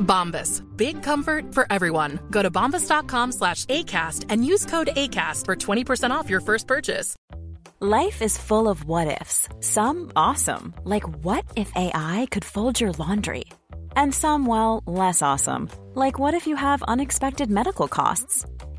Bombas. Big comfort for everyone. Go to bombas.com slash ACAST and use code ACAST for 20% off your first purchase. Life is full of what ifs. Some awesome, like what if AI could fold your laundry? And some, well, less awesome, like what if you have unexpected medical costs?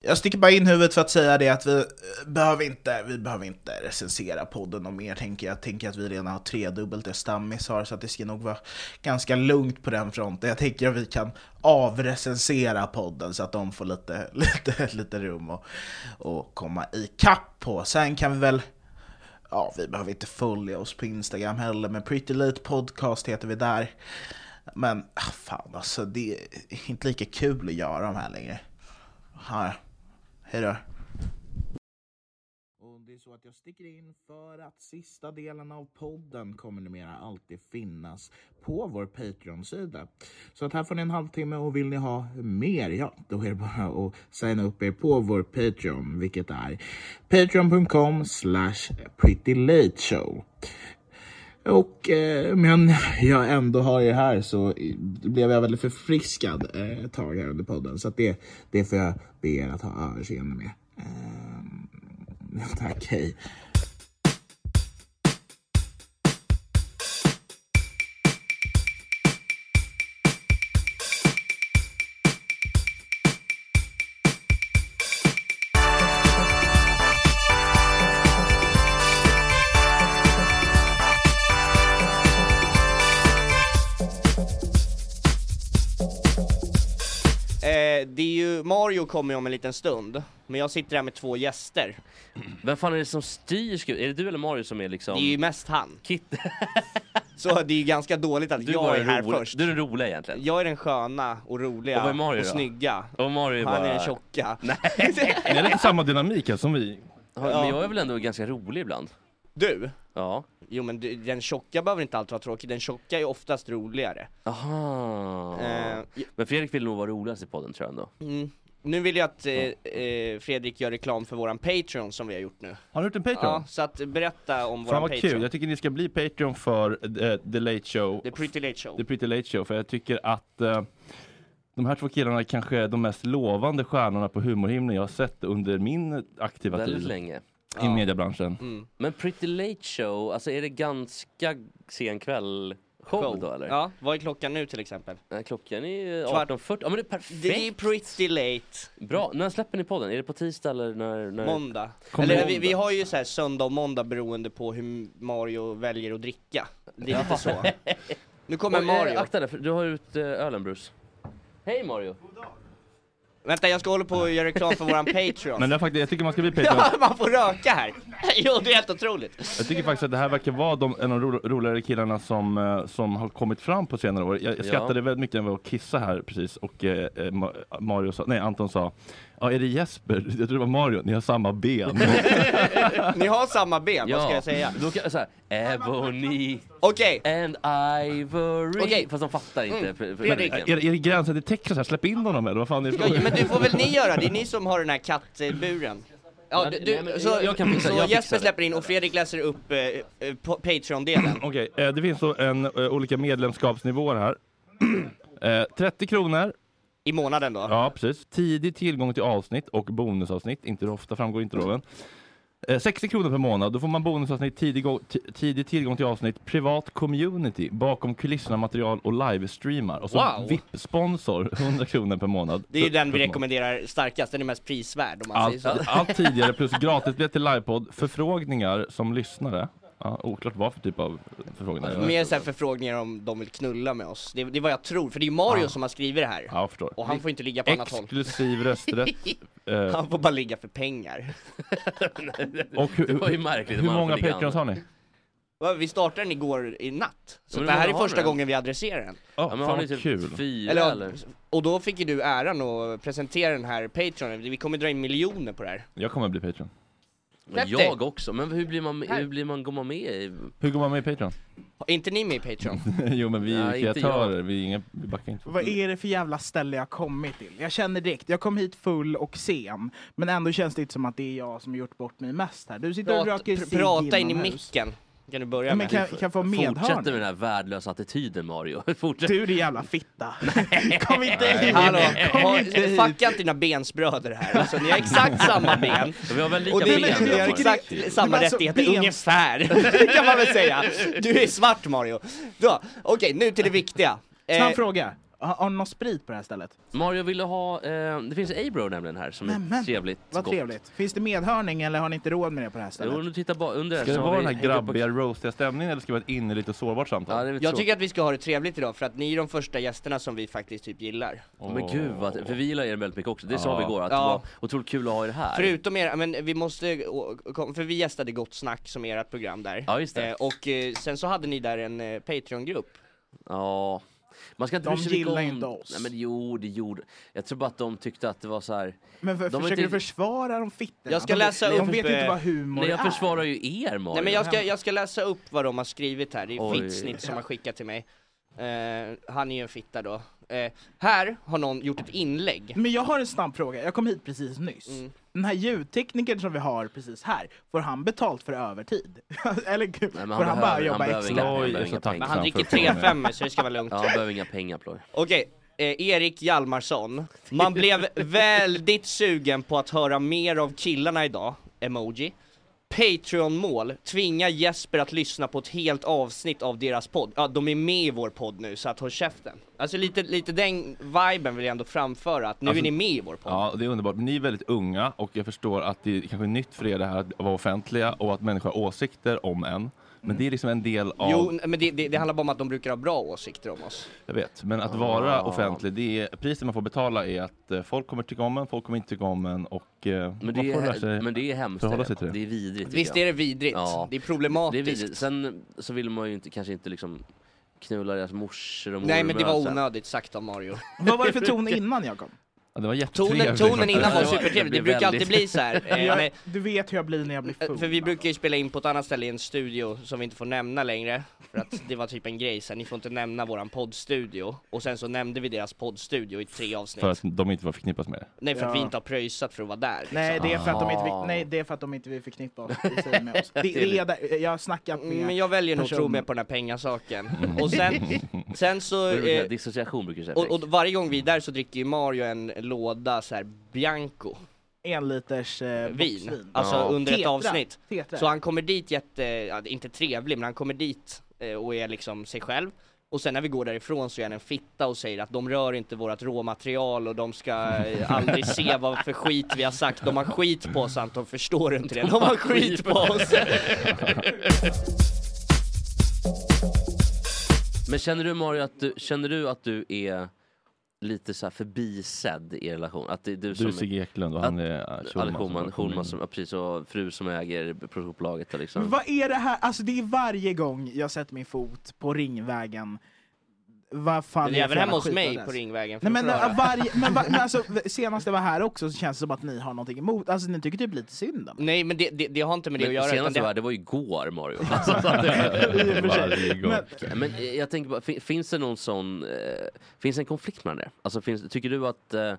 Jag sticker bara in huvudet för att säga det att vi eh, behöver inte, vi behöver inte recensera podden och mer tänker jag. Tänker att vi redan har tredubbelt det Stammis har så att det ska nog vara ganska lugnt på den fronten. Jag tänker att vi kan avrecensera podden så att de får lite, lite, lite rum och, och komma ikapp på. Sen kan vi väl Ja, vi behöver inte följa oss på Instagram heller, men Pretty Late Podcast heter vi där. Men ah, fan alltså, det är inte lika kul att göra de här längre. Här. Hej då. Och det är så att jag sticker in för att sista delen av podden kommer numera alltid finnas på vår Patreon-sida. Så att här får ni en halvtimme och vill ni ha mer, ja då är det bara att signa upp er på vår Patreon, vilket är patreon.com slash prettylateshow. Och eh, men jag ändå har er här så blev jag väldigt förfriskad eh, ett tag här under podden. Så att det, det får jag be er att ha överseende med. Eh, tack, hej. Eh, det är ju, Mario kommer ju om en liten stund, men jag sitter här med två gäster. Vem fan är det som styr skri- Är det du eller Mario som är liksom... Det är ju mest han. Kit. Så det är ju ganska dåligt att Du bara jag är här rolig. först. Du är den roliga egentligen. Jag är den sköna och roliga Och vad är Mario då? snygga. Och Mario är Han bara... är den tjocka. Ni har lite samma dynamik här som vi. Ja, Men jag är väl ändå ganska rolig ibland? Du? Ja. Jo men du, den tjocka behöver inte alltid vara tråkig, den tjocka är oftast roligare. Aha. Eh, Men Fredrik vill nog vara roligast i podden tror jag ändå. mm. Nu vill jag att eh, eh, Fredrik gör reklam för våran Patreon som vi har gjort nu. Har du gjort en Patreon? Ja, så att berätta om Fan våran vad Patreon. kul, jag tycker ni ska bli Patreon för eh, The Late Show, The Pretty Late Show. The Pretty Late Show, för jag tycker att eh, de här två killarna är kanske de mest lovande stjärnorna på humorhimlen jag har sett under min aktiva Väldigt tid länge. i mediebranschen. Men Pretty Late Show, alltså är det ganska sen kväll show då eller? Ja, vad är klockan nu till exempel? Nej, Klockan är Kvart- 18.40, ja men det är perfekt! Det är pretty late. Bra, när släpper ni podden? Är det på tisdag eller när? när... Måndag. Kommer Eller måndag. vi, vi har ju så här söndag och måndag beroende på hur Mario väljer att dricka. Det är lite så. Nu kommer Oj, eh, Mario. akta dig, för du har ut eh, ölen Bruce. Hej Mario! Vänta jag ska hålla på och göra reklam för våran Patreon. Men det är faktiskt, jag tycker man ska bli Patreon. Ja, man får röka här! Jo, det är helt otroligt! Jag tycker faktiskt att det här verkar vara de, en av de ro- roligare killarna som, eh, som har kommit fram på senare år. Jag, jag skrattade väldigt mycket när jag var och kissade här precis och eh, eh, Ma- Mario sa, nej Anton sa, ja är det Jesper? Jag tror det var Mario, ni har samma ben. Ni har samma ben, vad ska jag säga? Då kan jag säga Ebony Okej, and Ivory. Okej. Mm. Fast de fattar inte för, för Fredrik. är, publiken. är det gränsen till Texas här? Släpp in honom eller vad fan är det ja, frågan? men du får väl ni göra, det är ni som har den här kattburen. Ja, du, Nej, du, men så, jag- jag kan fixa- så jag fixar Jesper det. släpper in och Fredrik läser upp eh, eh, pa- Patreon-delen. Okej, eh, det finns då en, eh, olika medlemskapsnivåer här. eh, 30 kronor I månaden då? Ja, precis. Tidig tillgång till avsnitt och bonusavsnitt. Inte det ofta framgår inte loven. Eh, 60 kronor per månad. Då får man bonusavsnitt, tidig, gå- ti- tidig tillgång till avsnitt, privat community, bakom kulisserna material och livestreamar. Och så Wow. VIP-sponsor, 100 kronor per månad. Det är ju den vi För- rekommenderar starkast, den är mest prisvärd om man Allt, säger så. allt tidigare plus gratisbiljett till livepodd, förfrågningar som lyssnare. Ja, oklart vad för typ av förfrågningar. Mer såhär förfrågningar om de vill knulla med oss, det, det är vad jag tror, för det är ju Mario som har skrivit det här Ja, jag förstår. Och han får inte ligga på annat håll Exklusiv rösträtt. Eh, Han får bara ligga för pengar och hur, Det var ju märkligt om hur han får många ligga Patreons har ni? Va, Vi startade den igår i natt, så Men det hur här är många har första ni då? gången vi adresserar den Ja, Ja, men fan har ni vad typ kul. fyra Eller, eller? Och då fick ju du äran att presentera den här Patreon, vi kommer dra in miljoner på det här Jag kommer att bli Patreon. Men Släpp dig. jag också, men hur blir man, Här. hur blir man, går man med i? Hur går man med i Patreon? Är inte ni med i Patreon? jo men vi är Nej, inte kreatörer, vi, är inga, vi backar inte. Vad är det för jävla ställe jag kommit till? Jag känner direkt, jag kom hit full och sen. Men ändå känns det inte som att det är jag som gjort bort mig mest här. Du sitter och Prata, röker pr- cigg prata in i inomhus. micken, kan du Ja, börja men med? kan, kan jag få Fortsätt med medhörning? den här värdelösa attityden Mario, fortsätt! Du din jävla fitta! Kom inte hit! Hallå, ha, fucka inte dina bensbröder här, alltså, ni har exakt samma ben Vi har väl lika Och det är, ben? det är Mario? exakt samma Men alltså, rättigheter, ben- ungefär, det kan man väl säga. Du är svart Mario. Då, Okej, nu till det viktiga. Snabb fråga, har, har ni någon sprit på det här stället? Mario ville ha, eh, det finns Abro nämligen här som är Nämen, trevligt Vad gott. trevligt. Finns det medhörning eller har ni inte råd med det på det här Jo, om stället? du tittar bara under Ska så det har vara vi den här hängt upp på- grabbiga, roastiga stämningen eller ska vi vara ett innerligt och sårbart Ja, samtal? det är väl jag så. tycker att vi ska ha det trevligt idag för att ni är de första gästerna som vi faktiskt typ gillar. Ja, Men gud vad, för vi gillar er väldigt mycket också, det sa vi igår att Ja. det var otroligt kul att ha er här. Förutom er, men vi måste, å- kom- för vi gästade Gott Snack som är ert program där. Ja, just det. Eh, Och eh, sen så hade ni där en eh, Patreon-grupp. Ja. Man ska inte De bry sig lika gillar om... inte oss. Nej men jo, det gjorde... Jag tror bara att de tyckte att det var så här. Men för, De är försöker du inte- försvara de fittorna? Jag ska de, läsa de upp, vet inte eh, vad humor Nej jag är. försvarar ju er Mario. Nej men jag ska, jag ska läsa upp vad de har skrivit här, det är Oj. Fittsnitt som har skickat till mig. Eh, han är ju en fitta då. Eh, här har någon gjort ett inlägg. Mm. Men jag har en snabb fråga, jag kom hit precis nyss. Den här ljudteknikern som vi har precis här, får han betalt för övertid? Eller gud, får Nej, han, men bara behöver- jobba han behöver extra? inga- han Oj, behöver jag är inga så pengar. Men han Exakt, dricker förstår jag. 3-5 så det ska vara lugnt. Ja, han behöver inga pengar Ploy. Okej, eh, Erik Hjalmarsson. Man blev väldigt sugen på att höra mer av killarna idag. Emoji. Patreon-mål. Tvinga Jesper att lyssna på ett helt avsnitt av deras podd. Ja, de är med i vår podd nu, så att håll käften. Alltså lite, lite den viben vill jag ändå framföra, att nu Alltså- är ni med i vår podd. Ja, det är underbart. Ni är väldigt unga och jag förstår att det är kanske är nytt för er det här att vara offentliga och att människor har åsikter om en. Men det är liksom en del av, Jo, n- men det, det, det handlar bara om att de brukar ha bra åsikter om oss. jag vet, men att vara offentlig, det är, priset man får betala är att eh, folk kommer tycka om en, folk kommer inte tycka om en och eh, Men det, man får lära sig. är, men det är hemskt. förhålla Det, sig till det. det är vidrigt Visst tycker är jag. det vidrigt? Ja. Det är problematiskt. Det är vidrigt. Sen så vill man ju inte, kanske inte liksom knulla deras morsor och Nej men det morbröder var sen. onödigt sagt av Mario. Vad var det för ton innan jag kom? Ja, det var Tonen, jättetrevligt. tonen innan var Ja, det var- supertrevlig, det det blev brukar alltid väldigt- bli så här. Eh, men- Du vet hur jag blir när jag blir Eh, full. För vi brukar ju spela in på ett annat ställe i en studio som vi inte får nämna längre För att det var typ en grej sen, ni får inte nämna våran poddstudio Och sen så nämnde vi deras poddstudio i tre avsnitt För att de inte var förknippas med det. Nej för att vi Ja. inte har pröjsat för att vara där liksom. Nej det, är för att de inte vill, Ah. nej, det är för att de inte vill förknippa oss i sig med oss. Det är där, jag har snackat med... Mm, Men jag väljer nog att tro Person. mer på den här pengasaken Och sen, sen så Det brukar jag- eh, Dissociation brukar jag säga. och, Felix. och varje gång vi är där så dricker ju Mario en låda så här Bianco en liters eh, vin boxvin. Alltså Ja. under ett Tetra. avsnitt Tetra. Så han kommer dit jätte, ja, inte trevlig, men han kommer dit eh, och är liksom sig själv. Och sen när vi går därifrån så är han en fitta och säger att de rör inte vårt råmaterial och de ska eh, aldrig se vad för skit vi har sagt. De har skit på oss Anton, förstår du inte det? De har skit på oss! Men känner du Mario att du, känner du att du är lite så här förbisedd i relation? Att det är du, Du som är Sigge Eklund och han är eh, Alex som Schulman, bara kom in. Schulman som, ja, precis, och fru som äger produktionsbolaget där, liksom. Men vad är det här? Alltså det är varje gång jag sätter min fot på Ringvägen. Vad Du fan är det även för hemma jävla hos mig skitadress? på Ringvägen för Nej, att men, få höra. äh, varje, men, va- men alltså, senast jag var här också så känns det som att ni har någonting emot, alltså ni tycker typ lite synd om mig. Nej men det, det, det har inte med det Men att göra. senast det... det, var, det var ju igår Mario. Alltså, så att Varje gång. Men- det- men eh, jag tänker bara, fin- finns det någon sån, eh, finns det en konflikt mellan det? Alltså finns, tycker du att eh, eh,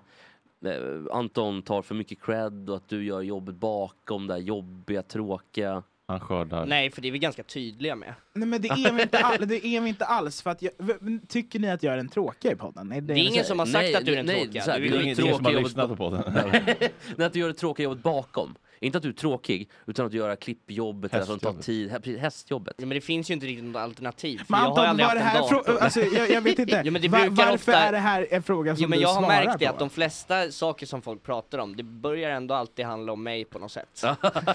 Anton tar för mycket cred och att du gör jobbet bakom det här jobbiga, tråkiga? Han skördar. Nej, för det är vi ganska tydliga med. Nej men det är vi inte, all, det är vi inte alls. För att jag, v- men tycker ni att jag är den tråkiga i podden? Är det Det är ingen som har sagt Nej, att du är den nej, tråkiga. så här, Du vi är har ju inget- Det är ingen som har tråkiga lyssnat på podden. Nej, att du gör det tråkiga jobbet bakom. Inte att du är tråkig, utan att du gör klippjobbet, eller som tar Hästjobbet. tid, hä- precis, hästjobbet. Ja, men det finns ju inte riktigt något alternativ. För Men jag har Anton, aldrig var haft det en här dator. frå- alltså, jag, jag vet inte. Jo, men det Va- brukar varför ofta- är det här en fråga som Jo, men du jag har svarar märkt det på? att de flesta saker som folk pratar om, det börjar ändå alltid handla om mig på något sätt.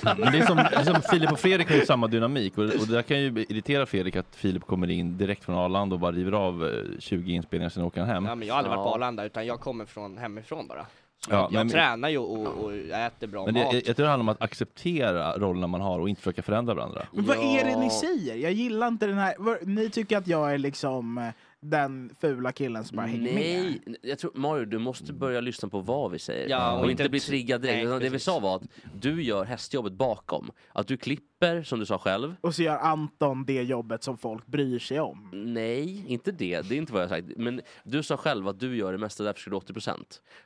Men det är som, det är som Filip och Fredrik har ju samma dynamik och, och det där kan ju irritera Fredrik att Filip kommer in direkt från Arlanda och bara river av eh, 20 inspelningar sen åker han hem. Ja, men jag har aldrig varit Ja. på Arlanda, utan jag kommer från hemifrån bara. Så Ja, jag jag men- tränar ju och, och, och äter bra Men det, mat. jag, jag tror det handlar om att acceptera rollerna man har och inte försöka förändra varandra. Men vad är det ni säger? Jag gillar inte den här... vad- Ni tycker att jag är liksom eh, den fula killen som bara hänger med? Nej, jag tror, Mario du måste börja lyssna på vad vi säger Ja, och, och inte inte- bli triggad direkt. Nej, utan det vi precis. sa var att du gör hästjobbet bakom. Att du klipper, som du sa själv. Och så gör Anton det jobbet som folk bryr sig om. Nej, inte det. Det är inte vad jag har sagt. Men du sa själv att du gör det mesta, därför ska du 80%.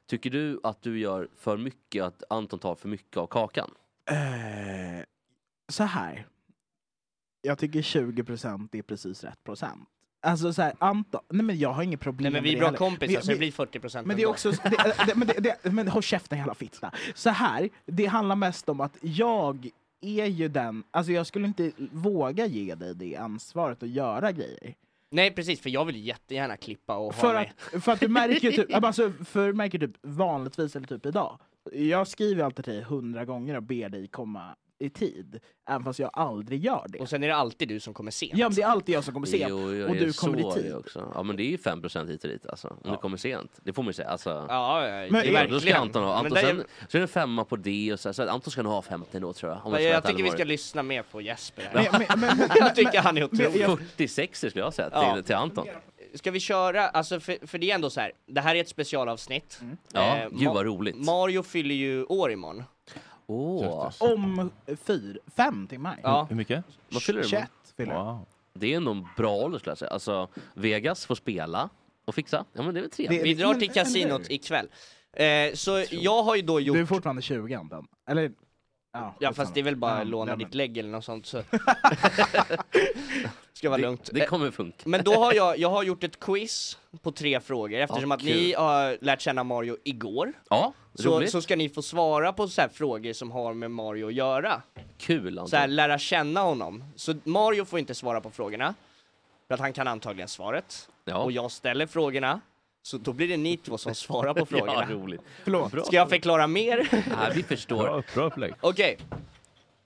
Tycker du att du gör för mycket, att Anton tar för mycket av kakan? Eh, så här. Jag tycker 20% är precis rätt procent. Alltså så här, Anton, nej men jag har inget problem Nej men vi är med bra heller. kompisar Men- så det men- blir 40% Men det är ändå. också, det, det, men, det, det, men håll käften jävla fitta. Så här, det handlar mest om att jag är ju den, alltså jag skulle inte våga ge dig det ansvaret att göra grejer. Nej precis, för jag vill jättegärna klippa och ha För mig. att, för att du märker ju typ, alltså, för du märker typ vanligtvis eller typ idag. Jag skriver alltid till dig hundra gånger och ber dig komma i tid. Även fast jag aldrig gör det. Och sen är det alltid du som kommer sent. Ja men det är alltid jag som kommer sent. Jo, jo, och jo, du så kommer i är tid. det Också. Ja men det är ju 5% hit och dit alltså. Om du kommer sent. Det får man ju säga. Alltså, Ja, ja, Men- det är Ja, Då ska verkligen. Anton ha. Anton, men där, sen, så är det en femma på det och så, här, så att Anton ska nog ha 50 då tror jag. Om jag, ska jag, vara tycker vi helt ska lyssna mer på Jesper här. Men, men, men, men, Jag tycker han är allvarlig. otrolig. 46 skulle jag säga Ja. till, till Anton. Ska vi köra, alltså för, för det är ändå så här. det här är ett specialavsnitt. Mm. Ja, Eh, gud Ma- vad roligt. Mario fyller ju år imorgon. Åh, om fyra, fem timmar. Ja. Hur mycket? vad fyller du? 21 fyller jag. Wow. Det är ändå en bra ålder skulle jag säga. Alltså, Vegas får spela och fixa. Ja men det är väl trevligt. Vi drar Men- till eller kasinot hur? ikväll. Eh, så jag har ju då gjort... Du är fortfarande 20 Anton. Eller? Ja fast det är väl bara Ja, låna nej, men- ditt lägg eller något sånt så... Ska vara lugnt. Det Eh, kommer funka. Men då har jag, jag har gjort ett quiz på tre frågor eftersom Ja, att ni har lärt känna Mario igår. Ja, Så, roligt. så ska ni få svara på så här frågor som har med Mario att göra. Kul Anton. Så här, lära känna honom. Så Mario får inte svara på frågorna. För att han kan antagligen svaret. Ja. Och jag ställer frågorna. Så då blir det ni två som svarar på ja, frågorna. roligt. Förlåt. Bra. Ska jag förklara mer? Nej, vi förstår. Bra, bra upplägg. Okej.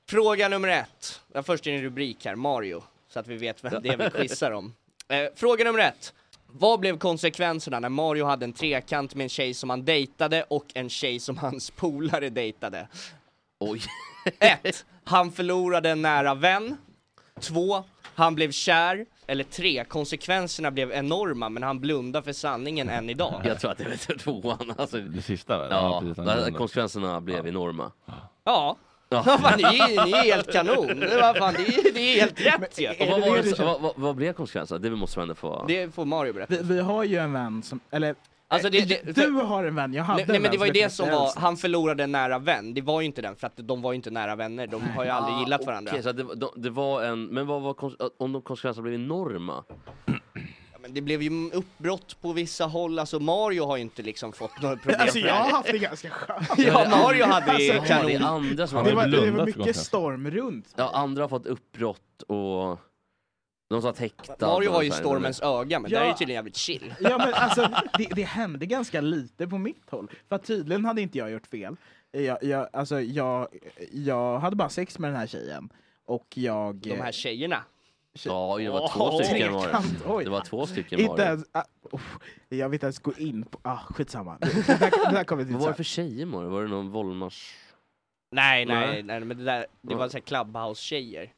Fråga nummer ett. Ja, först är det en rubrik här, Mario. Så att vi vet vem det är vi quizar om. Eh, fråga nummer ett. Vad blev konsekvenserna när Mario hade en trekant med en tjej som han dejtade och en tjej som hans polare dejtade? Oj. 1. Han förlorade en nära vän. 2. Han blev kär. Eller 3. Konsekvenserna blev enorma men han blundar för sanningen än idag. Jag tror att det är tvåan. Alltså, Det sista? där. ja, precis, den där- grunden. konsekvenserna blev enorma. Ja. Ja. Vad fan, ni, är- ni är helt kanon! Det, var fan, det, är, det är helt rätt ju! Och vad, var det, vad, vad, vad blev konsekvenserna? Det måste vi ändå få... Det får Mario berätta. Vi, vi har ju en vän som, eller eh, Alltså det, det, du för, har en vän, jag hade nej, en nej vän men det var ju det jag som knäppte var, älskade. han förlorade en nära vän, det var ju inte den för att de var ju inte nära vänner, de har ju aldrig gillat varandra. Okej, så att det, de- det var en... Men vad var kons- om de konsekvenserna blev enorma? Ja, men det blev ju uppbrott på vissa håll, alltså Mario har ju inte liksom fått några problem Alltså för jag det har här. haft det ganska skönt. Ja, Mario hade Ja, ju Alltså, det är kanon. andra som Han Det har... blev var, det var blundat för mycket konsekvensen. storm runt. Ja, andra har fått uppbrott och... De satt häktade. Mario var ju och så här. stormens öga, men Ja. där är ju tydligen jävligt chill. Ja, men alltså, det, det hände ganska lite på mitt håll. För att tydligen hade inte jag gjort fel. Jag, jag, alltså, jag, jag hade bara sex med den här tjejen. Och jag... De här tjejerna. Ja, det var två Åh, stycken Mario. trekant, oj. Det var två stycken inte Mario. ens, ah, oh, jag vill inte ens gå in på... Ah, skitsamma. Det det där, det där kommer vi till Vad var det sen. för tjejer Mario? Var det någon Wollmars... Nej, Nej. nej, nej, men det där, det var såhär clubhouse-tjejer.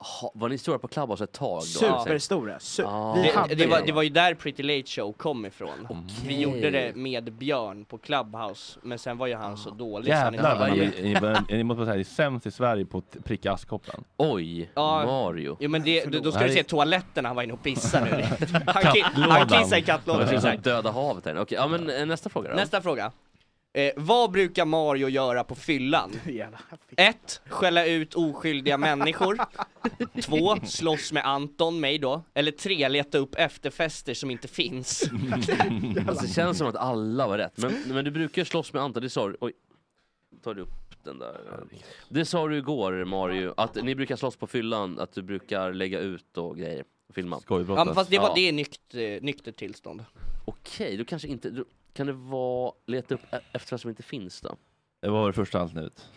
Ha, var ni stora på Clubhouse ett tag? Då? Superstora. Su- Ah. vi Det, hade det, var, ju- det var ju där Pretty Late Show kom ifrån. Vi Okej. gjorde det med Björn på Clubhouse, men sen var ju han så dålig så han Liksom, inte Jävlar vad var ni, med. ni, ni, ni måste vara så här, sämst i Sverige på att pricka askkoppen. Oj, Ja. Mario. Jo men det, då, då ska Nej. du se toaletten han var inne och pissade nu. Han, ki- han Kattlådan. kissade i Det var kattlådan. liksom exakt. döda havet här. Okej, ja men eh, nästa fråga då. Nästa fråga. Eh, vad brukar Mario göra på fyllan? Jävla. 1. Skälla ut oskyldiga människor 2. Slåss med Anton, mig då Eller 3. Leta upp efterfester som inte finns Alltså, det känns som att alla var rätt. Men, men du brukar slåss med Anton, det sa du... Oj. Tar du upp den där? Det sa du igår Mario, att ni brukar slåss på fyllan, att du brukar lägga ut och grejer. och Filma. Skojbrott Ja men fast det var Ja. det är nykt, eh, nyktert tillstånd Okej, då kanske inte... Då, kan det vara leta upp e- efter vad som inte finns då? Eh, Vad var det första alternativet?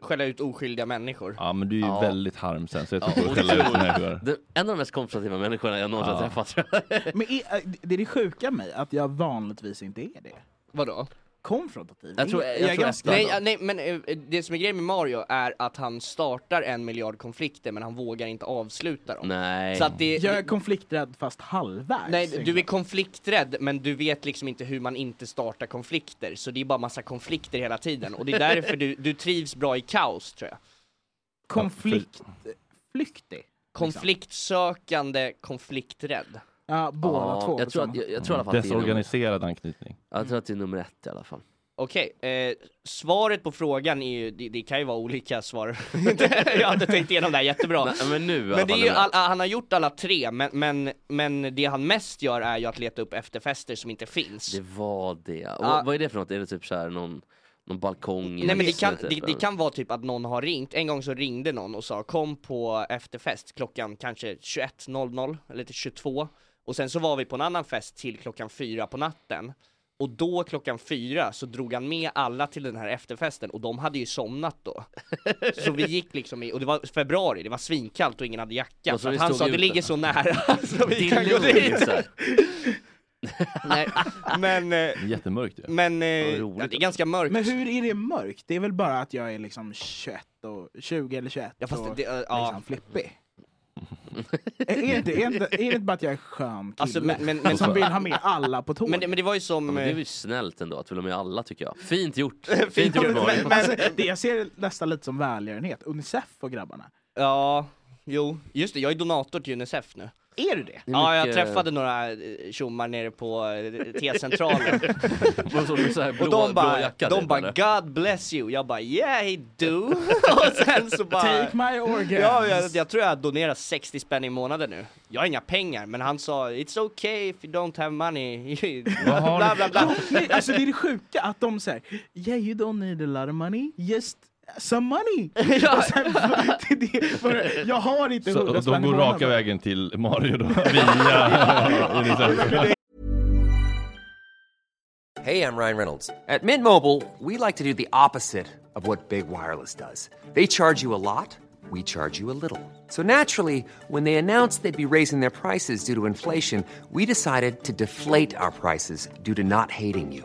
eh, Skälla ut oskyldiga människor Ja men du är ju Ja. väldigt harmsen så jag Ja, tror och att skälla ut otur. människor. Det, en av de mest konfrontativa människorna jag någonsin Ja. har träffat tror jag. Men är, det är det sjuka med att jag vanligtvis inte är det. Vadå? Konfrontativ. Jag tror- är, jag är tror ganska... Nej, ja, nej men eh, det som är grejen med Mario är att han startar en miljard konflikter men han vågar inte avsluta dem Nej. Så att det, jag är konflikträdd fast halvvägs. Nej, du är konflikträdd men du vet liksom inte hur man inte startar konflikter, så det är bara massa konflikter hela tiden och det är därför du, du trivs bra i kaos tror jag. konfliktflyktig. Liksom. Konfliktsökande, konflikträdd. Ja, båda ja, två. jag, tror att, liksom. jag, jag tror i alla Mm. fall att det är nummer, Desorganiserad anknytning. jag tror att det är nummer ett i alla fall. Okej, eh, svaret på frågan är ju, det, det kan ju vara olika svar. jag hade tänkt igenom det här jättebra. Men, men nu i alla Men det är fall. ju, nummer ett. all, han har gjort alla tre, men, men, men det han mest gör är ju att leta upp efterfester som inte finns. Det var det. Och, Ja. Vad är det för något? Är det typ så här någon, någon balkong? Nej i men det huset, kan, typ, det, det eller? kan vara typ att någon har ringt, en gång så ringde någon och sa kom på efterfest klockan kanske 21.00 eller till 22 och sen så var vi på en annan fest till klockan fyra på natten och då klockan fyra så drog han med alla till den här efterfesten och de hade ju somnat då Så vi gick liksom i, och det var februari, det var svinkallt och ingen hade jacka Och så för vi att han stod sa det ute." ligger så nära så vi Det kan är gå lugnt. dit så här. Nej, Men, eh, Det är jättemörkt ju. men eh, Ja, ja, roligt det alltså. är ganska mörkt Men hur är det mörkt? Det är väl bara att jag är liksom 21 och 20 eller 21 Ja fast och det, eh, ja, liksom flippig. är, är, det, inte- är, det, inte- är det inte bara att jag är en skön kille Alltså, men- men- men- som vill ha med alla på tåget? Men, det- men det var ju Ja, som... men det är eh, väl snällt ändå att vilja med alla tycker jag. Fint gjort! Fint Fint gjort, gjort Mario! men- alltså, det, jag ser det nästan lite som välgörenhet. Unicef och grabbarna. Ja, jo, just det, jag är donator till Unicef nu. Är du det? Det är Ja, jag mycket- träffade några eh, tjommar nere på eh, T-centralen Vad sa du, så här blå, och de blå bara, jacka, de typ, bara eller? 'God bless you' jag bara 'Yeah he do' och sen så bara Take my organs! Ja, jag, jag tror jag donerar 60 spänn i månaden nu. Jag har inga pengar, men han sa 'It's okay if you don't have money' Vad har bla du- bla bla. Nej, alltså det är det sjuka att de säger Yeah you don't need a lot of money, just some money! ja, Och sen, det, det, bara, jag har inte Så, hundra och spänn de i går raka månaden. vägen till Mario då, via Unicef. Hey, I'm Ryan Reynolds. At Mint Mobile, we like to do the opposite of what Big Wireless does. They charge you a lot, we charge you a little. So naturally, when they announced they'd be raising their prices due to inflation, we decided to deflate our prices due to not hating you.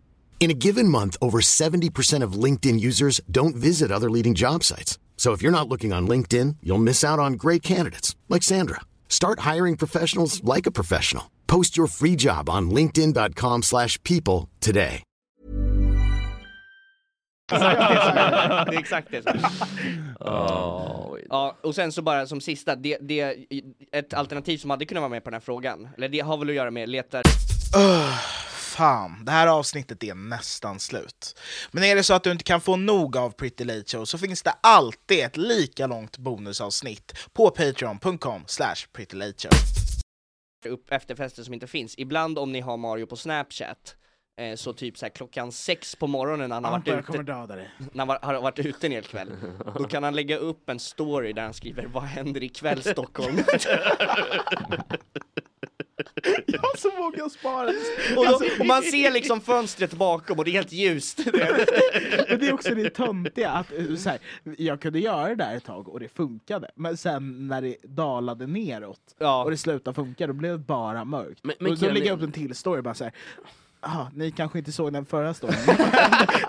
In a given month, over 70% of LinkedIn users don't visit other leading job sites. So if you're not looking on LinkedIn, you'll miss out on great candidates like Sandra. Start hiring professionals like a professional. Post your free job on linkedin.com/people slash people today. det är exakt det. som- Ja, oj. Ja, och sen så bara som sista, det, det, ett alternativ som hade kunnat vara med på den här frågan, eller det har väl att göra med leta Öh, Fan, det här avsnittet är nästan slut. Men är det så att du inte kan få nog av Pretty Late Show så finns det alltid ett lika långt bonusavsnitt på patreon.com slash prettylateshow. upp efterfester som inte finns. Ibland om ni har Mario på snapchat, eh, så typ så här klockan sex på morgonen när han, har varit, ute, döda dig. när han var, har varit ute en hel kväll, då kan han lägga upp en story där han skriver 'Vad händer ikväll Stockholm?' Jag har så många Alltså, sparade. och, då, och man ser liksom fönstret bakom och det är helt ljust. Men det är också det töntiga att eh, så här, jag kunde göra det där ett tag och det funkade. Men sen när det dalade neråt Ja. och det slutade funka då blev det bara mörkt. Men- men och då Kenny- lägger jag upp en till story bara så här. Aha, ni kanske inte såg den förra storyn.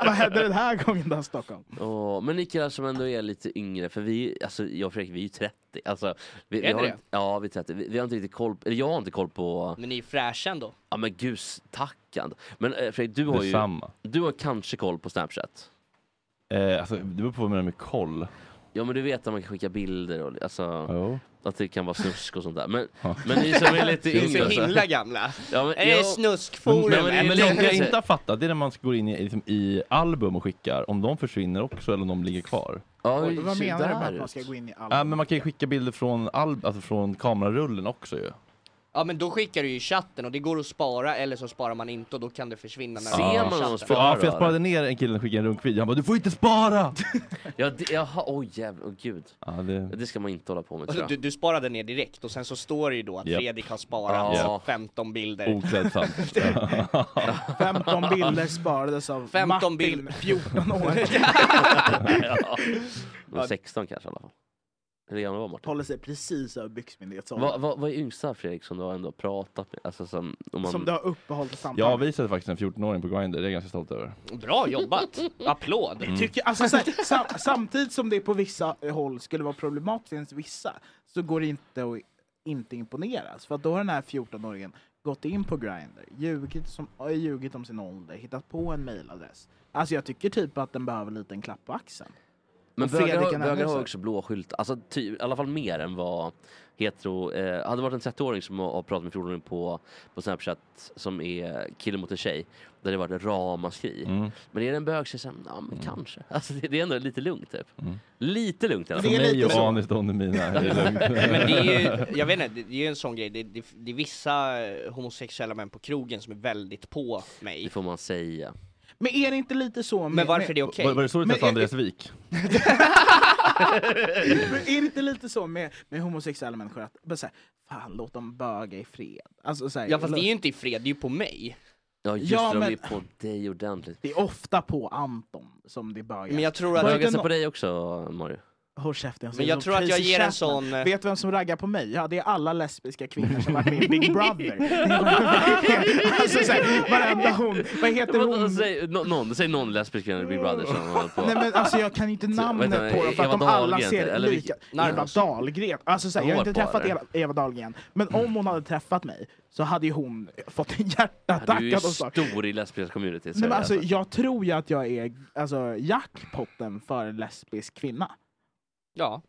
Vad hände den här gången då Stockholm? Åh, men ni killar som ändå är lite yngre, för vi, alltså jag och Fredrik, vi är ju 30. Alltså, vi, vi Är ni har, det? inte- Ja, vi är 30. Vi, vi har inte riktigt koll, på- eller jag har inte koll på, Men ni är fräscha ändå. ja men gus tackan. Men eh, Fredrik, du har ju, Detsamma. du har kanske koll på Snapchat? Eh, alltså, det beror på vad man menar med koll. Ja men du vet att man kan skicka bilder och alltså, Jo. att det kan vara snusk och sånt där. Men, Ja. men ni som är lite Ni är så yngre. så- himla gamla. Ja, men, Är det jag, snuskforum? Nej, men det alltså. är Men Men det länge jag sedan. inte har fattat, det är när man går in i, liksom, i album och skickar, om de försvinner också eller om de ligger kvar. ja, Oj, vad se menar du med där att man ska ut. gå in i alla? Ja, men man kan ju skicka bilder från, alb- alltså, från kamerarullen också ju. Ja men då skickar du ju i chatten och det går att spara eller så sparar man inte och då kan det försvinna när Ser du man chatten. oss för- För, ja, för jag då? sparade ner en kille som skickade en runkvideo, han bara du får inte spara! Ja, det, jaha, oj jävlar, åh gud. ja, det, Det ska man inte hålla på med tror Alltså, jag. du, du sparade ner direkt och sen så står det ju då att Japp. Fredrik har sparat Ja. 15 bilder. Mm. oklädsamt. 15 bilder sparades av 15 Martin, bilder. 14 år. ja. Men 16 kanske i alla fall. Hur gammal var Martin? Håller sig precis över byxmyndighetsåldern. Vad vad- vad är yngsta Fredrik som du har ändå pratat med? Alltså som, om man... Som du har uppehållit samtal Jag avvisade faktiskt en 14-åring på Grindr, det är jag ganska stolt över. Mm. Bra jobbat! Applåd! Tycker, alltså, så här, sam, samtidigt som det på vissa håll skulle vara problematiskt, finns vissa, så går det inte att inte imponeras. För att då har den här 14-åringen gått in på Grindr, ljugit, som, äh, ljugit om sin ålder, hittat på en mailadress. Alltså jag tycker typ att den behöver en liten klapp på axeln. Men Och bögar, Fredrik har- kan bögar ändå har så. också blå skyltar, alltså ty, i alla fall mer än vad hetero... Eh, hade det varit en 30-åring som har har pratat med 14-åring på, på Snapchat som är kille mot en tjej, där det varit ramaskri. Mm. Men är det en bög så är det såhär, ja men kanske. Alltså det, det är ändå lite lugnt typ. Mm. Lite lugnt i alla Det För är fall. mig lite och så. Anis Don Demina, det är lugnt. Men det är ju, jag vet inte, det det är ju en sån grej, det, det, det är vissa eh, homosexuella män på krogen som är väldigt på Det mig. får man säga. Men är det inte lite så med, Men varför är med, det okej? Var, var det så du Men- träffade Andreas Wik? men är det inte lite så med, med homosexuella människor att bara så här, fan låt dem böga i fred. Alltså, så här, Ja fast det är det, ju är... inte i fred, det är ju på mig. Ja just Ja, det, men- de är på dig ordentligt. ofta på Anton som det bögar. Men jag tror Var det att, Bögar inte sig nå- på dig också Mario? Håll käften, men ser jag ut tror som att jag Tracy ger en Chapman. sån... eh, Vet du vem som raggar på mig? Ja, det är alla lesbiska kvinnor som har varit med i Big Brother. alltså såhär, varenda hon. Vad heter Vadå, hon? Säg nå- någon, säg någon lesbisk kvinna i Big Brother som håller på. Nej men alltså jag kan ju inte namnet vänta, på dem för att Eva de alla Dahlgren, ser eller lika vilken- Eva Dahlgren, alltså såhär, jag har inte Hår bara. träffat Eva, Eva Dahlgren Men om hon hade träffat mig så hade ju hon fått en Du är hjärtattack ju av något slag. stor i lesbiska communityt. Nej, men alltså, jag tror ju att jag är alltså, jackpotten för en lesbisk kvinna. Ja.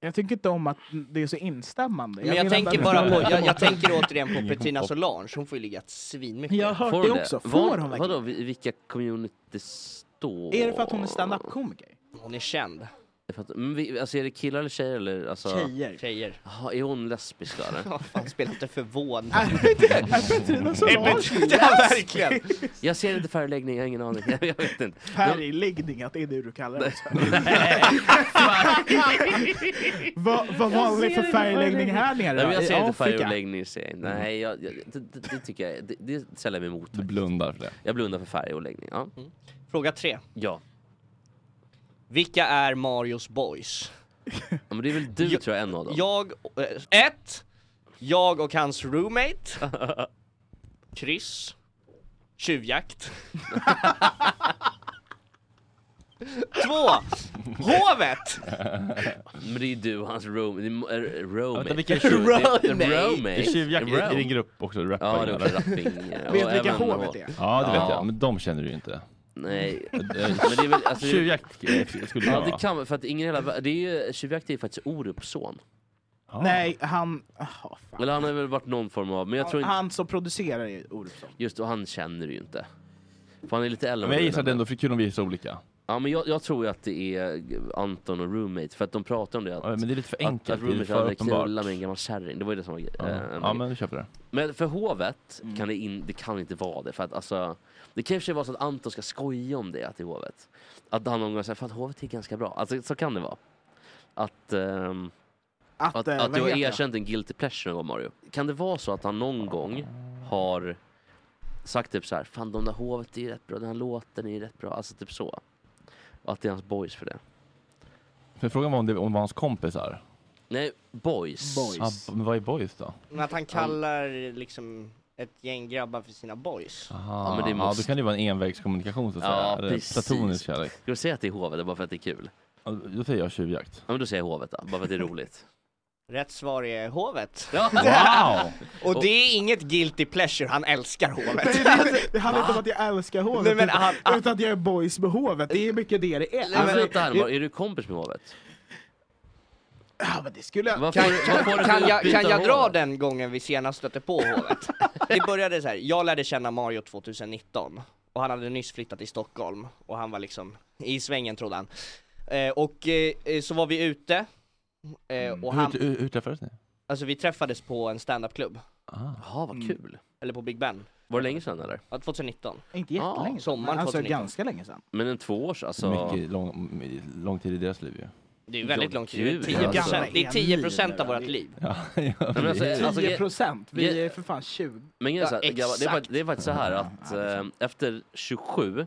Jag tycker inte om att det är så instämmande. Men jag, menar tänker att- bara på, jag, jag tänker återigen på Petrina Solange, hon får ju ligga svinmycket. Jag har hört det också. Får hon verkligen? Vadå, vi- vilka communities då? Är det för att hon är standup-komiker? Hon är känd. Det är för att- men vi- Alltså är det killar eller tjejer eller? Alltså, Tjejer. Tjejer. Jaha, är hon lesbisk då eller? Ja, fan, spela inte förvånad. Är inte- är Petrina Solange Ja, verkligen! Jag ser inte färgläggning, jag har ingen aning. Jag vet inte. färgläggning? Att det är det du kallar det? Vad vad vanlig för färgläggning här nere Nej, då? men jag I ser inte Afrika? Mm. färgläggning, ser jag inte. Nej, jag, jag, det, det, det tycker jag, det, det säljer mig emot. Du blundar för det. Jag blundar för färg och läggning. Ja. Mm. Fråga tre. Ja. Vilka är Marios boys? Ja, Men det är väl du Jag- tror jag, en av dem? Jag, eh, ett, jag och hans roommate, kryss, tjuvjakt. Två, hovet! Men det är ju du och hans room, det är, är, Vänta, roommate. vilka är tjuv- Det är Roommate. Det är Roommate. tjuvjakt i- i din grupp också, du Ja, rappar det ju, är eller? också rapping. eh, och Vet vilka även- hovet är? Ja, det vet Ja. jag, men de känner du ju inte. Nej, men det är väl... Alltså, det, Tjuvjakt eh, skulle ja, jag det vara. kan för att ingen i hela vär- det är ju, Tjuvjakt är ju faktiskt Orups son. Ja. Nej, han... ah, fan. Eller han har väl varit någon form av, men jag tror inte... Han som producerar är Orupsson. Just och han känner du ju inte. För han är lite äldre. Men jag än gissar att det den. ändå är kul om vi är så olika. Ja men jag, jag tror ju att det är Anton och Roommate, för att de pratar om det att... Ja, men det är lite för att, enkelt, att det är Roommate för hade uppenbart. knullat med en gammal kärring, det var ju det som var gre- eh, en Ja, grej. men vi köper det. Men för hovet Mm. kan det, in, det kan inte vara det. För att, alltså, det kan i och för sig vara så att Anton ska skoja om det att det är hovet. Att han någon gång säger fan hovet är ganska bra. Alltså, så kan det vara. Att, ehm, Att, att, eh, att vad du har heter han? erkänt en guilty pleasure någon gång Mario. Kan det vara så att han någon gång har sagt typ så här, fan de där hovet är ju rätt bra, den här låten är ju rätt bra. Alltså typ så. Och att det är hans boys för det. Men frågan var om det om det var hans kompisar. Nej, boys. Boys. Ja, men vad är boys då? Men Att han kallar liksom ett gäng grabbar för sina boys. Aha, men det ja, måste- då kan det ju vara en envägskommunikation så att Ja, säga. Eller precis. Platonisk kärlek. Ska du säga att det är hovet bara för att det är kul? Ja, Då säger jag tjuvjakt. Ja men då säger jag hovet då, bara för att det är roligt. Rätt svar är hovet. Ja. Wow! Och det är inget guilty pleasure, han älskar hovet. Det handlar- Det handlar inte om att jag älskar hovet, Nej, men utan- han- han- utan att jag är boys med hovet. Det är mycket det det är. Men Alltså, vänta Halmar, är du kompis med hovet? ja, men det skulle jag... Vad Kan, får du- vad får du för kan, jag, utbyte kan av jag dra hovet? den gången vi senast stötte på hovet? Det började så här. jag lärde känna Mario 2019 och han hade nyss flyttat till Stockholm och han var liksom i svängen trodde han. Eh, och eh, eh, så var vi ute eh, och han, Hur, hur, hur träffades ni? alltså vi träffades på en standupklubb, Mm. Jaha vad kul. eller på Big Ben, Ah. Var det länge sedan eller? Ja, 2019. Inte jättelänge sedan, sommaren men alltså 2019. ganska länge sedan. Men en två års alltså? Mycket lång, lång tid i deras liv ju. Det är ju väldigt Ja, lång tid, gud, det är 10%, alltså. det är 10% av vårt liv. Ja, ja, men alltså, precis. alltså, 10 procent, vi ge- är för fan 20. Men grejen är så här, Ja, grabbar, det, är exakt. fakt- det är faktiskt så här att eh, efter 27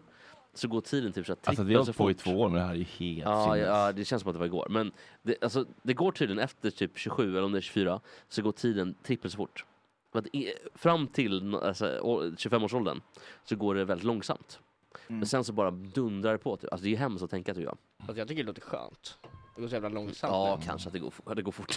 så går tiden typ så här Alltså att vi har trippelt så hållit på i fort. två år med det här är ju helt Ja, sinnes. ja, det känns som att det var igår. Men det, alltså, det går tydligen efter typ 27 eller om det är 24 så går tiden trippelt så fort. För att i, fram till nå- alltså, å- 25-årsåldern så går det väldigt långsamt. Mm. Men sen så bara dundrar det på. Typ. Alltså, det är ju hemskt att tänka tycker jag. Alltså jag tycker det låter skönt. Det går så jävla långsamt. Ja, kanske att det går, fo- det går fort.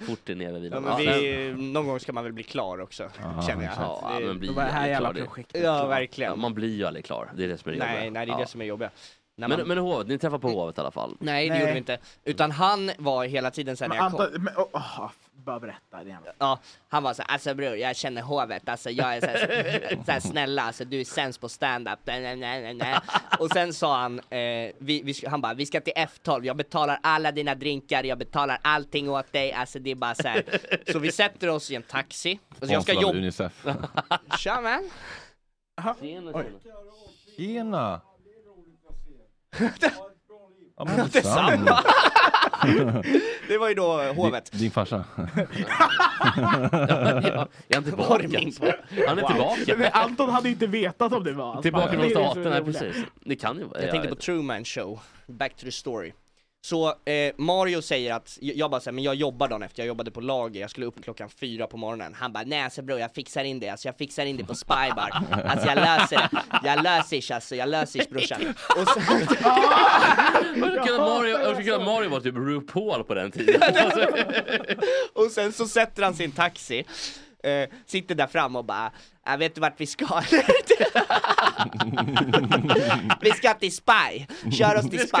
fort är nere vid Ja, den. men Ja, nej. vi, någon gång ska man väl bli klar också, känner jag. Ja, Det- men blir Det var det här aldrig jävla klar, det- projektet. ja, Ja, verkligen. man blir ju aldrig klar. Det är det som är det nej, jobbiga. nej, det är Ja. det som är jobbiga. När man... Men, men hovet, ni träffar på hovet i alla fall? Nej, det Nej. gjorde vi inte. Utan han var hela tiden sen när Men jag kom. Anton, men, oh, oh, bara berätta det igen. Ja, han var såhär, alltså bror jag känner hovet, alltså jag är såhär, såhär snälla, alltså du är sämst på standup. Nej, nej, nej, nej, nej. Och sen sa han, eh, vi, vi, sk- han bara, vi ska till F12, jag betalar alla dina drinkar, jag betalar allting åt dig, alltså det är bara såhär. Så vi sätter oss i en taxi, alltså jag ska Sponsrad av jobba, Unicef. tja man. Tjena! Ja, men Detsamma! det var ju då eh, hovet. Din, din farsa. Ja, jag är inte Var det min tillbaka. Han är tillbaka. Men Anton hade inte vetat om det var hans Tillbaka pappa. från Det är det som är staten, nej roligt. precis. Det kan ju vara. Jag tänkte på vet Truman Show, Back to the Story Så eh, Mario säger att, jag jag bara säger men jag jobbar dagen efter, jag jobbade på lager, jag skulle upp klockan fyra på morgonen Han bara nej alltså bror jag fixar in det, alltså jag fixar in det på Spybar Alltså jag löser det, jag löser ish alltså, jag löser ish brorsan Och sen, inte. Jag skulle kunna Mario, jag skulle kunna Mario var typ RuPaul på den tiden. Alltså. och sen så sätter han sin taxi eh, Sitter där fram och bara, jag vet du vart vi ska? vi ska till Spy, kör oss till Spy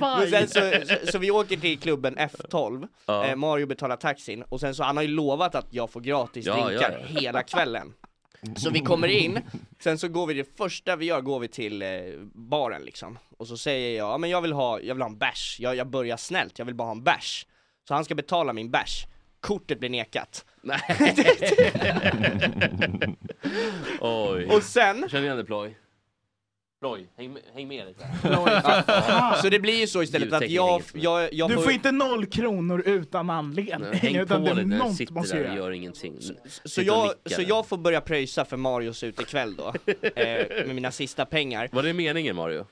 Men sen så, så, så vi åker till klubben F12, Ja. eh, Mario betalar taxin och sen så han har ju lovat att jag får gratis Ja, drinkar ja, hela kvällen. Så vi kommer in, sen så går vi det första vi gör går vi till eh, baren liksom Och så säger jag, ja men jag vill ha, jag vill ha en bärs, jag, jag börjar snällt, jag vill bara ha en bärs Så han ska betala min bärs, kortet blir nekat Oj. Och sen, Känner igen det Ploy? Ploy, häng, med- häng med lite. så det blir ju så istället att Ljudtekniker jag, inget. jag, jag Du får inte noll kronor utan anledning. Häng utan på det lite, när du något sitter måste där och göra. gör ingenting. Så jag, så jag får börja pröjsa för Marios utekväll då, eh, med mina sista pengar. Var det meningen Mario? Alltså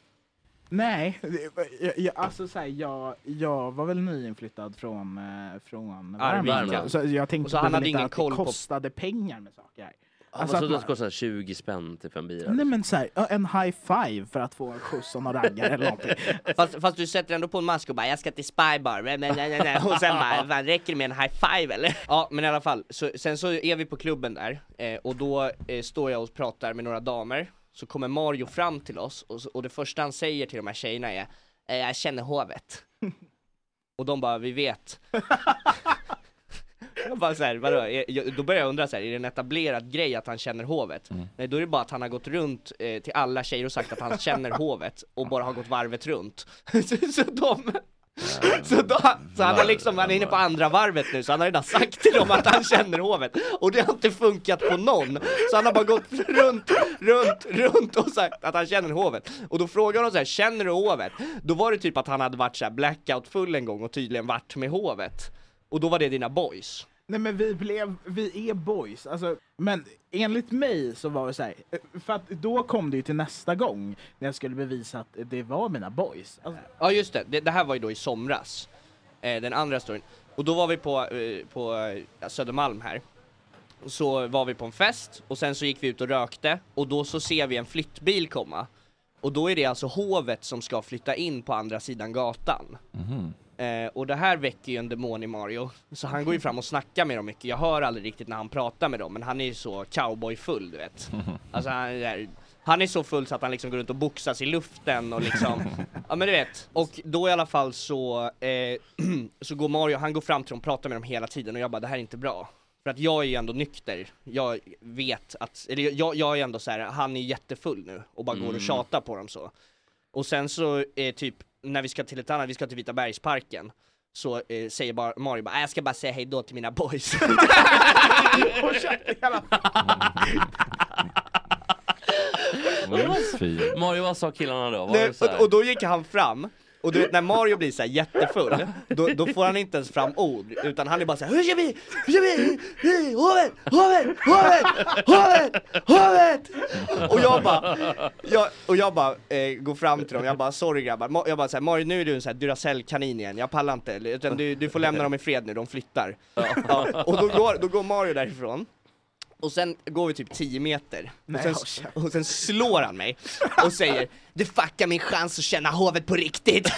Nej, det- jag, jag, alltså så här, jag, jag var väl nyinflyttad från, eh, från Arvika. Värmland. Så jag tänkte Och så han väl hade inte ingen att det koll på- kostade pengar med saker. här. Alltså, att alltså, man- det kostar 20 spänn typ en bira. liksom. Nej men såhär, en high five för att få en skjuts av någon raggare eller någonting. Fast, fast Alltså, du sätter ändå på en mask och bara 'Jag ska till spybar' nej, nej, nej, nej. och sen bara 'Fan räcker det med en high five eller?' Ja men i alla fall, så, sen så är vi på klubben där, eh, och då eh, står jag och pratar med några damer, så kommer Mario fram till oss, och, så- och det första han säger till de här tjejerna är eh, 'Jag känner hovet' Och de bara 'Vi vet' Jag bara så här, vadå? Är- jag- Då börjar jag undra så här, är det en etablerad grej att han känner hovet? Nej då är det bara att han har gått runt eh, till alla tjejer och sagt att han känner hovet och bara har gått varvet runt Så, så de så, då, så han, har liksom, han är inne på andra varvet nu, så han har redan sagt till dem att han känner hovet Och det har inte funkat på någon! Så han har bara gått runt, runt, runt och sagt att han känner hovet Och då frågar de så här, känner du hovet? Då var det typ att han hade varit så här blackoutfull en gång och tydligen varit med hovet Och då var det dina boys Nej men vi blev, vi är boys. Alltså, men enligt mig så var det såhär, för att då kom det ju till nästa gång när jag skulle bevisa att det var mina boys. Alltså, Ja just det, det, det här var ju då i somras eh, Den andra storyn Och då var vi på, eh, på eh, Södermalm här så var vi på en fest och sen så gick vi ut och rökte och då så ser vi en flyttbil komma. Och då är det alltså hovet som ska flytta in på andra sidan gatan. Mhm. Eh, och det här väcker ju en demon i Mario, så han går ju fram och snackar med dem mycket. Jag hör aldrig riktigt när han pratar med dem, men han är ju så cowboyfull du vet. Alltså han är, han är så full så att han liksom går runt och boxas i luften och liksom, ja men du vet. Och då i alla fall så, eh, så går Mario, han går fram till dem och pratar med dem hela tiden och jag bara det här är inte bra. För att jag är ju ändå nykter, jag vet att, eller jag, jag är ändå så här, han är jättefull nu och bara går och tjatar på dem så. Och sen så eh, typ när vi ska till ett annat, vi ska till Vita bergsparken så eh, säger bara, Mario bara, "Äh, jag ska bara säga hej då till mina boys. Fy. Mario, vad sa killarna då? Var Nej, det så här? och, och då gick han fram, och du vet när Mario blir så här jättefull, då, då får han inte ens fram ord, utan han är bara så här Hur gör vi? Hur gör vi? Hur- Hovet! Hovet! Hovet! Hovet! Hovet! Och jag bara, jag, och jag bara eh, går fram till dem, jag bara sorry grabbar, Ma- jag bara så här, Mario nu är du en sån här Duracell-kanin igen, jag pallar inte, utan du, du får lämna dem i fred nu, de flyttar. Ja, och då går, då går Mario därifrån, och sen går vi typ 10 meter, och sen, och sen slår han mig och säger Du fuckar min chans att känna hovet på riktigt!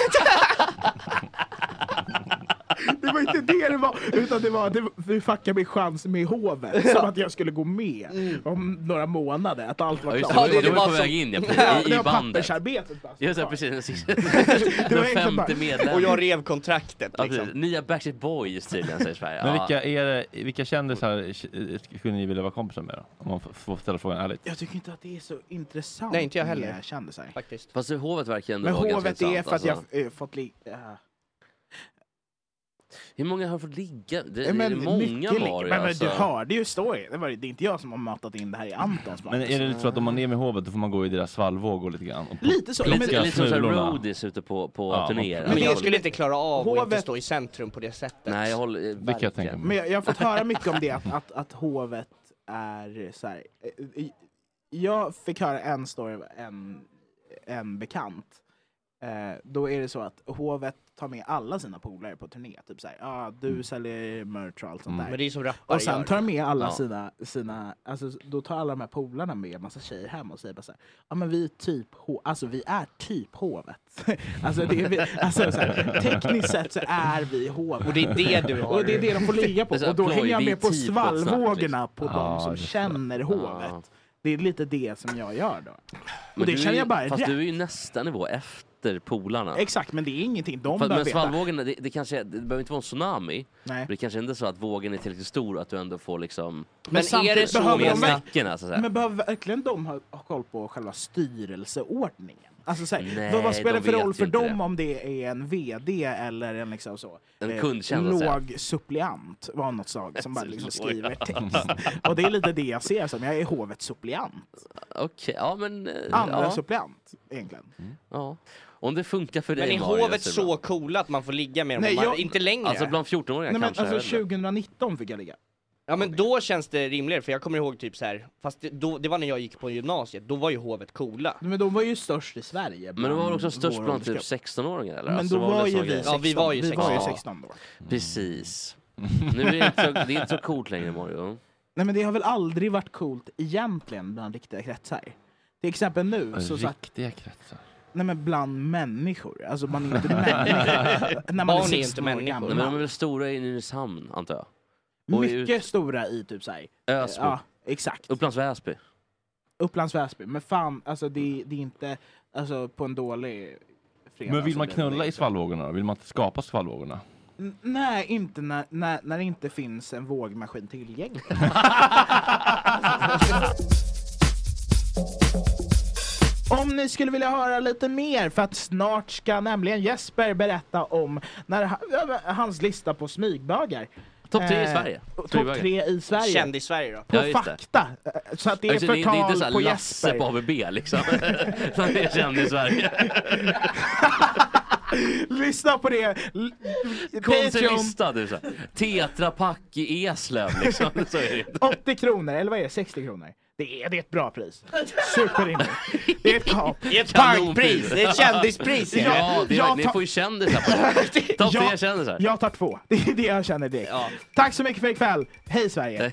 Det var inte det det var, utan det var att du fuckade min chans med hovet. Som att jag skulle gå med om några månader, att allt var Ja, just klart. Mm. Ja, det- det, då är det vi var på som- väg in Ja, ja, precis, i, det i var liksom. bandet. pappersarbetet alltså. bara. Just det, precis. var Den egentligen femte bara- medlemmen. och jag rev kontraktet Ja, liksom. precis. Nya Backstreet Boys tydligen säger Sverige. Men Ja. vilka, är det, vilka kändisar eh, skulle ni vilja vara kompisar med då? Om man f- får ställa frågan ärligt. Jag tycker inte att det är så intressant Nej, inte jag heller. med kändisar. Faktiskt. Fast det- hovet verkar ändå Men vara ganska hovet är intressant, för att jag alltså. eh, fått li- ja. Hur många har fått ligga? Det, det Eh, är men många mycket li- Mario Men, men alltså. du hörde ju storyn, det, var, ju- det är inte jag som har matat in det här i Antons Men är det lite så att om man är med hovet då får man gå i deras svallvågor lite grann? Och Lite så. Lite, men- ska- lite som såhär smulorna. roadies ute på, på Ja, turnéer. men Men jag Alltså, skulle inte klara av att inte Hovet- stå i centrum på det sättet. Nej, jag håller... det kan jag tänka mig. Men jag, jag har fått höra mycket om det, att, att, att hovet är så här. eh, eh, Jag fick höra en story av en, en bekant. Eh, då är det så att hovet tar med alla sina polare på turné. Typ såhär, ah, du säljer merch och allt sånt där. Mm. Men det är som rappare Och sen tar de med alla Ja. sina, sina alltså, då tar alla de här polarna med massa tjejer hem och säger bara såhär, ja men vi är typ, ho- alltså vi är typ hovet. alltså, det är vi, alltså så här, tekniskt sett så är vi hovet. Och det är det du har. Alltså, Och det är det de får ligga på. Det är så här Och då ploj, hänger jag det är med på typ tid på ett snack, svallvågorna liksom. på de som känner Ja. hovet. Det är lite det som jag gör då. Men det du är känner ju- jag bara är Fast rätt. du är ju nästa nivå efter polarna. Exakt, men det är ingenting de Fast, behöver men veta. svallvågorna, det, det kanske, är- det behöver inte vara en tsunami. Nej. Det kanske inte är så att vågen är tillräckligt stor att du ändå får liksom... Men är samtidigt det så behöver Med de med verkligen- snacken alltså, så att säga. Men behöver verkligen de ha, ha koll på själva styrelseordningen? Alltså så här, Nej, vad, vad spelar de det för vet roll ju för inte dem det. om det är en VD eller en liksom så En eh, kundtjänst, så att säga. låg suppleant av något slag som bara liksom Låg. skriver text. Och det är lite det jag ser som, jag är hovets suppleant. Okej, ja men... eh, Andra ja, suppleant egentligen. ja. Om det funkar för dig Men är Mario, hovet är det bra. så coola att man får ligga med dem? Nej, Man- jag- Inte längre? Alltså bland Nej, 14-åringar men kanske. jag vet alltså inte. 2019 fick jag ligga. Ja men då känns det rimligare, för jag kommer ihåg typ så här. fast det, då, det var när jag gick på gymnasiet, då var ju hovet coola. Men de var ju störst i Sverige. Men de var väl också bland störst vår bland typ åldersgrupp. 16-åringar eller? Mm. Men Alltså, då väl var en ju sån vi Ja, vi 16. grej. var ju Vi var ju 16. 16 då. Precis. Nu är det inte så, det är inte så coolt längre Mario. Nej men det har väl aldrig varit coolt egentligen bland riktiga kretsar. Till exempel nu, så satt, Riktiga kretsar. nej men bland människor. Alltså man är inte människa. när man Barn är är 16 inte år människor. Nej, men de är gammal. väl stora i Nynäshamn antar jag? och är Mycket stora i typ såhär. Ösby. Ja, exakt. Upplands Väsby. Upplands Väsby. Men fan, alltså det, det är inte, alltså på en dålig fredag. Men vill så man blir det knulla i inte. svallvågorna då? Vill man inte skapa svallvågorna? N- Nej, inte när, när, när det inte finns en vågmaskin tillgänglig. Alltså, Om ni skulle vilja höra lite mer, för att snart ska nämligen Jesper berätta om när, ha- över- hans lista på smygbögar. Eh, Topp tre i Sverige. Topp Smygbögar. tre i Sverige. Känd i Sverige då. På Ja, just det. fakta. Eh, Så att det är Alltså, det, är- det är inte förtal såhär på Lasse Jesper. på ABB liksom. Som det är känd i Sverige. lyssna på det! L- Patreon, Konsumista, du så. här. Tetra Pak i Eslöv liksom. Så är det. 80 kronor, eller vad är det? 60 kronor? Det är, det är ett bra pris. Superrimligt. Det är ett kap. Det är ett Kanonpris. bankpris, det är ett kändispris! är det. Ja, det är, Jag ni tar- får ju kändisar på det. Topp Jag- tre kändisar. Jag tar två. Det är det jag känner direkt. Ja. Tack så mycket för ikväll. Hej Sverige!